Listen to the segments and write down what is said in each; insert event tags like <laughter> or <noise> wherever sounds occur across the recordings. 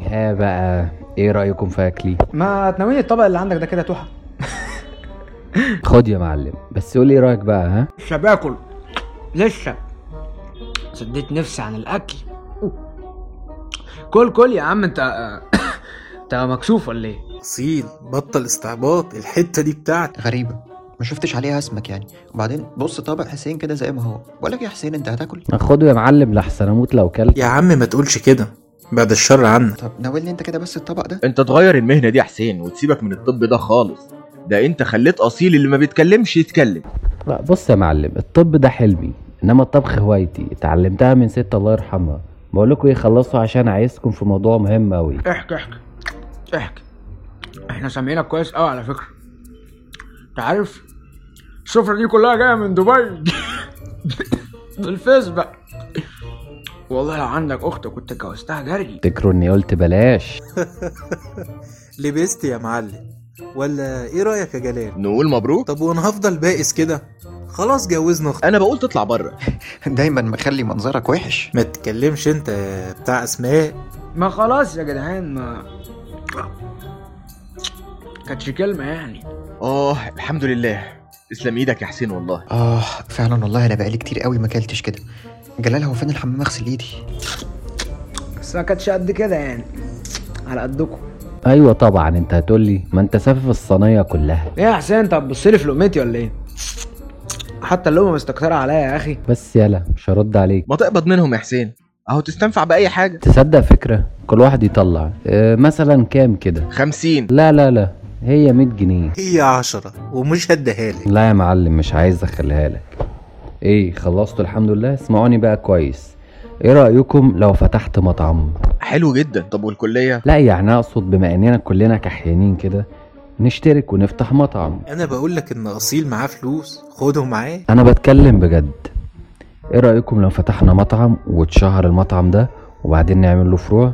ها بقى ايه رايكم في اكلي ما تناولني الطبق اللي عندك ده كده تحف خد يا معلم بس قول لي ايه رايك بقى ها لسه باكل لسه سديت نفسي عن الاكل كل كل يا عم انت انت مكسوف ولا ايه اصيل بطل استعباط الحته دي بتاعتي غريبة ما شفتش عليها اسمك يعني وبعدين بص طبق حسين كده زي ما هو بقول لك يا حسين انت هتاكل خده يا معلم لحسن اموت لو كلت يا عم ما تقولش كده بعد الشر عنك طب ناولني انت كده بس الطبق ده <laughs> انت تغير المهنه دي يا حسين وتسيبك من الطب ده خالص ده انت خليت اصيل اللي ما بيتكلمش يتكلم لا بص يا معلم الطب ده حلمي انما الطبخ هوايتي اتعلمتها من ست الله يرحمها بقول لكم ايه خلصوا عشان عايزكم في موضوع مهم قوي احكي احكي احكي احنا سامعينك كويس قوي على فكره انت عارف السفره دي كلها جايه من دبي <laughs> بالفيس بقى والله لو عندك اخت كنت اتجوزتها جري تفتكروا اني قلت بلاش لبست يا معلم ولا ايه رايك يا جلال نقول مبروك طب وانا هفضل بائس كده خلاص جوزنا اختي انا بقول تطلع بره دايما مخلي منظرك وحش ما تتكلمش انت يا بتاع اسماء ما خلاص يا جدعان ما كانتش كلمه يعني اه الحمد لله تسلم ايدك يا حسين والله اه فعلا والله انا بقالي كتير قوي ما اكلتش كده جلال هو فين الحمام اغسل ايدي بس ما كانتش قد كده يعني على قدكم ايوه طبعا انت هتقول لي ما انت سافف الصينيه كلها ايه يا حسين انت بتبصلي في لقمتي ولا ايه حتى اللقمه مستكتره عليا يا اخي بس يلا مش هرد عليك ما تقبض منهم يا حسين اهو تستنفع باي حاجه تصدق فكره كل واحد يطلع اه مثلا كام كده 50 لا لا لا هي 100 جنيه هي عشرة ومش هديها لك لا يا معلم مش عايز اخليها لك ايه خلصتوا الحمد لله اسمعوني بقى كويس ايه رايكم لو فتحت مطعم حلو جدا طب والكليه لا يعني اقصد بما اننا كلنا كحيانين كده نشترك ونفتح مطعم انا بقول لك ان اصيل معاه فلوس خده معاه انا بتكلم بجد ايه رايكم لو فتحنا مطعم واتشهر المطعم ده وبعدين نعمل له فروع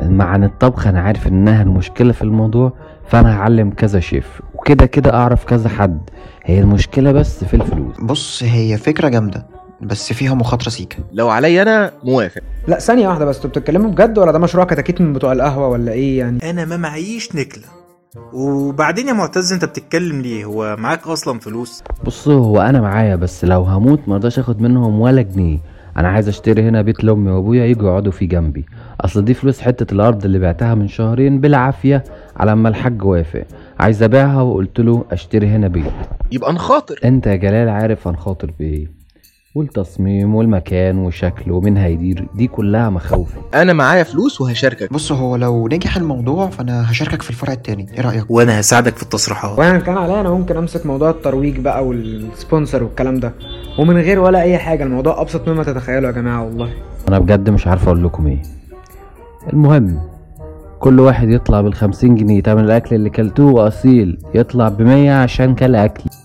مع عن الطبخ انا عارف انها المشكله في الموضوع فانا هعلم كذا شيف وكده كده اعرف كذا حد هي المشكله بس في الفلوس بص هي فكرة جامدة بس فيها مخاطرة سيكة لو عليا انا موافق لا ثانيه واحده بس انتوا بتتكلموا بجد ولا ده مشروع كتاكيت من بتوع القهوه ولا ايه يعني انا ما معيش نكله وبعدين يا معتز انت بتتكلم ليه هو معاك اصلا فلوس بص هو انا معايا بس لو هموت مرضاش اخد منهم ولا جنيه انا عايز اشتري هنا بيت لامي وابويا يجوا يقعدوا فيه جنبي اصل دي فلوس حته الارض اللي بعتها من شهرين بالعافيه على ما الحاج وافق عايز ابيعها وقلت له اشتري هنا بيت يبقى نخاطر انت يا جلال عارف هنخاطر بايه إيه. والتصميم والمكان وشكله ومين هيدير دي كلها مخاوفي انا معايا فلوس وهشاركك بص هو لو نجح الموضوع فانا هشاركك في الفرع التاني ايه رأيك وانا هساعدك في التصريحات وانا كان عليا انا ممكن امسك موضوع الترويج بقى والسبونسر والكلام ده ومن غير ولا اي حاجه الموضوع ابسط مما تتخيلوا يا جماعه والله انا بجد مش عارف اقول لكم ايه المهم كل واحد يطلع بالخمسين جنيه تمن الاكل اللي كلتوه واصيل يطلع بمية عشان كل اكل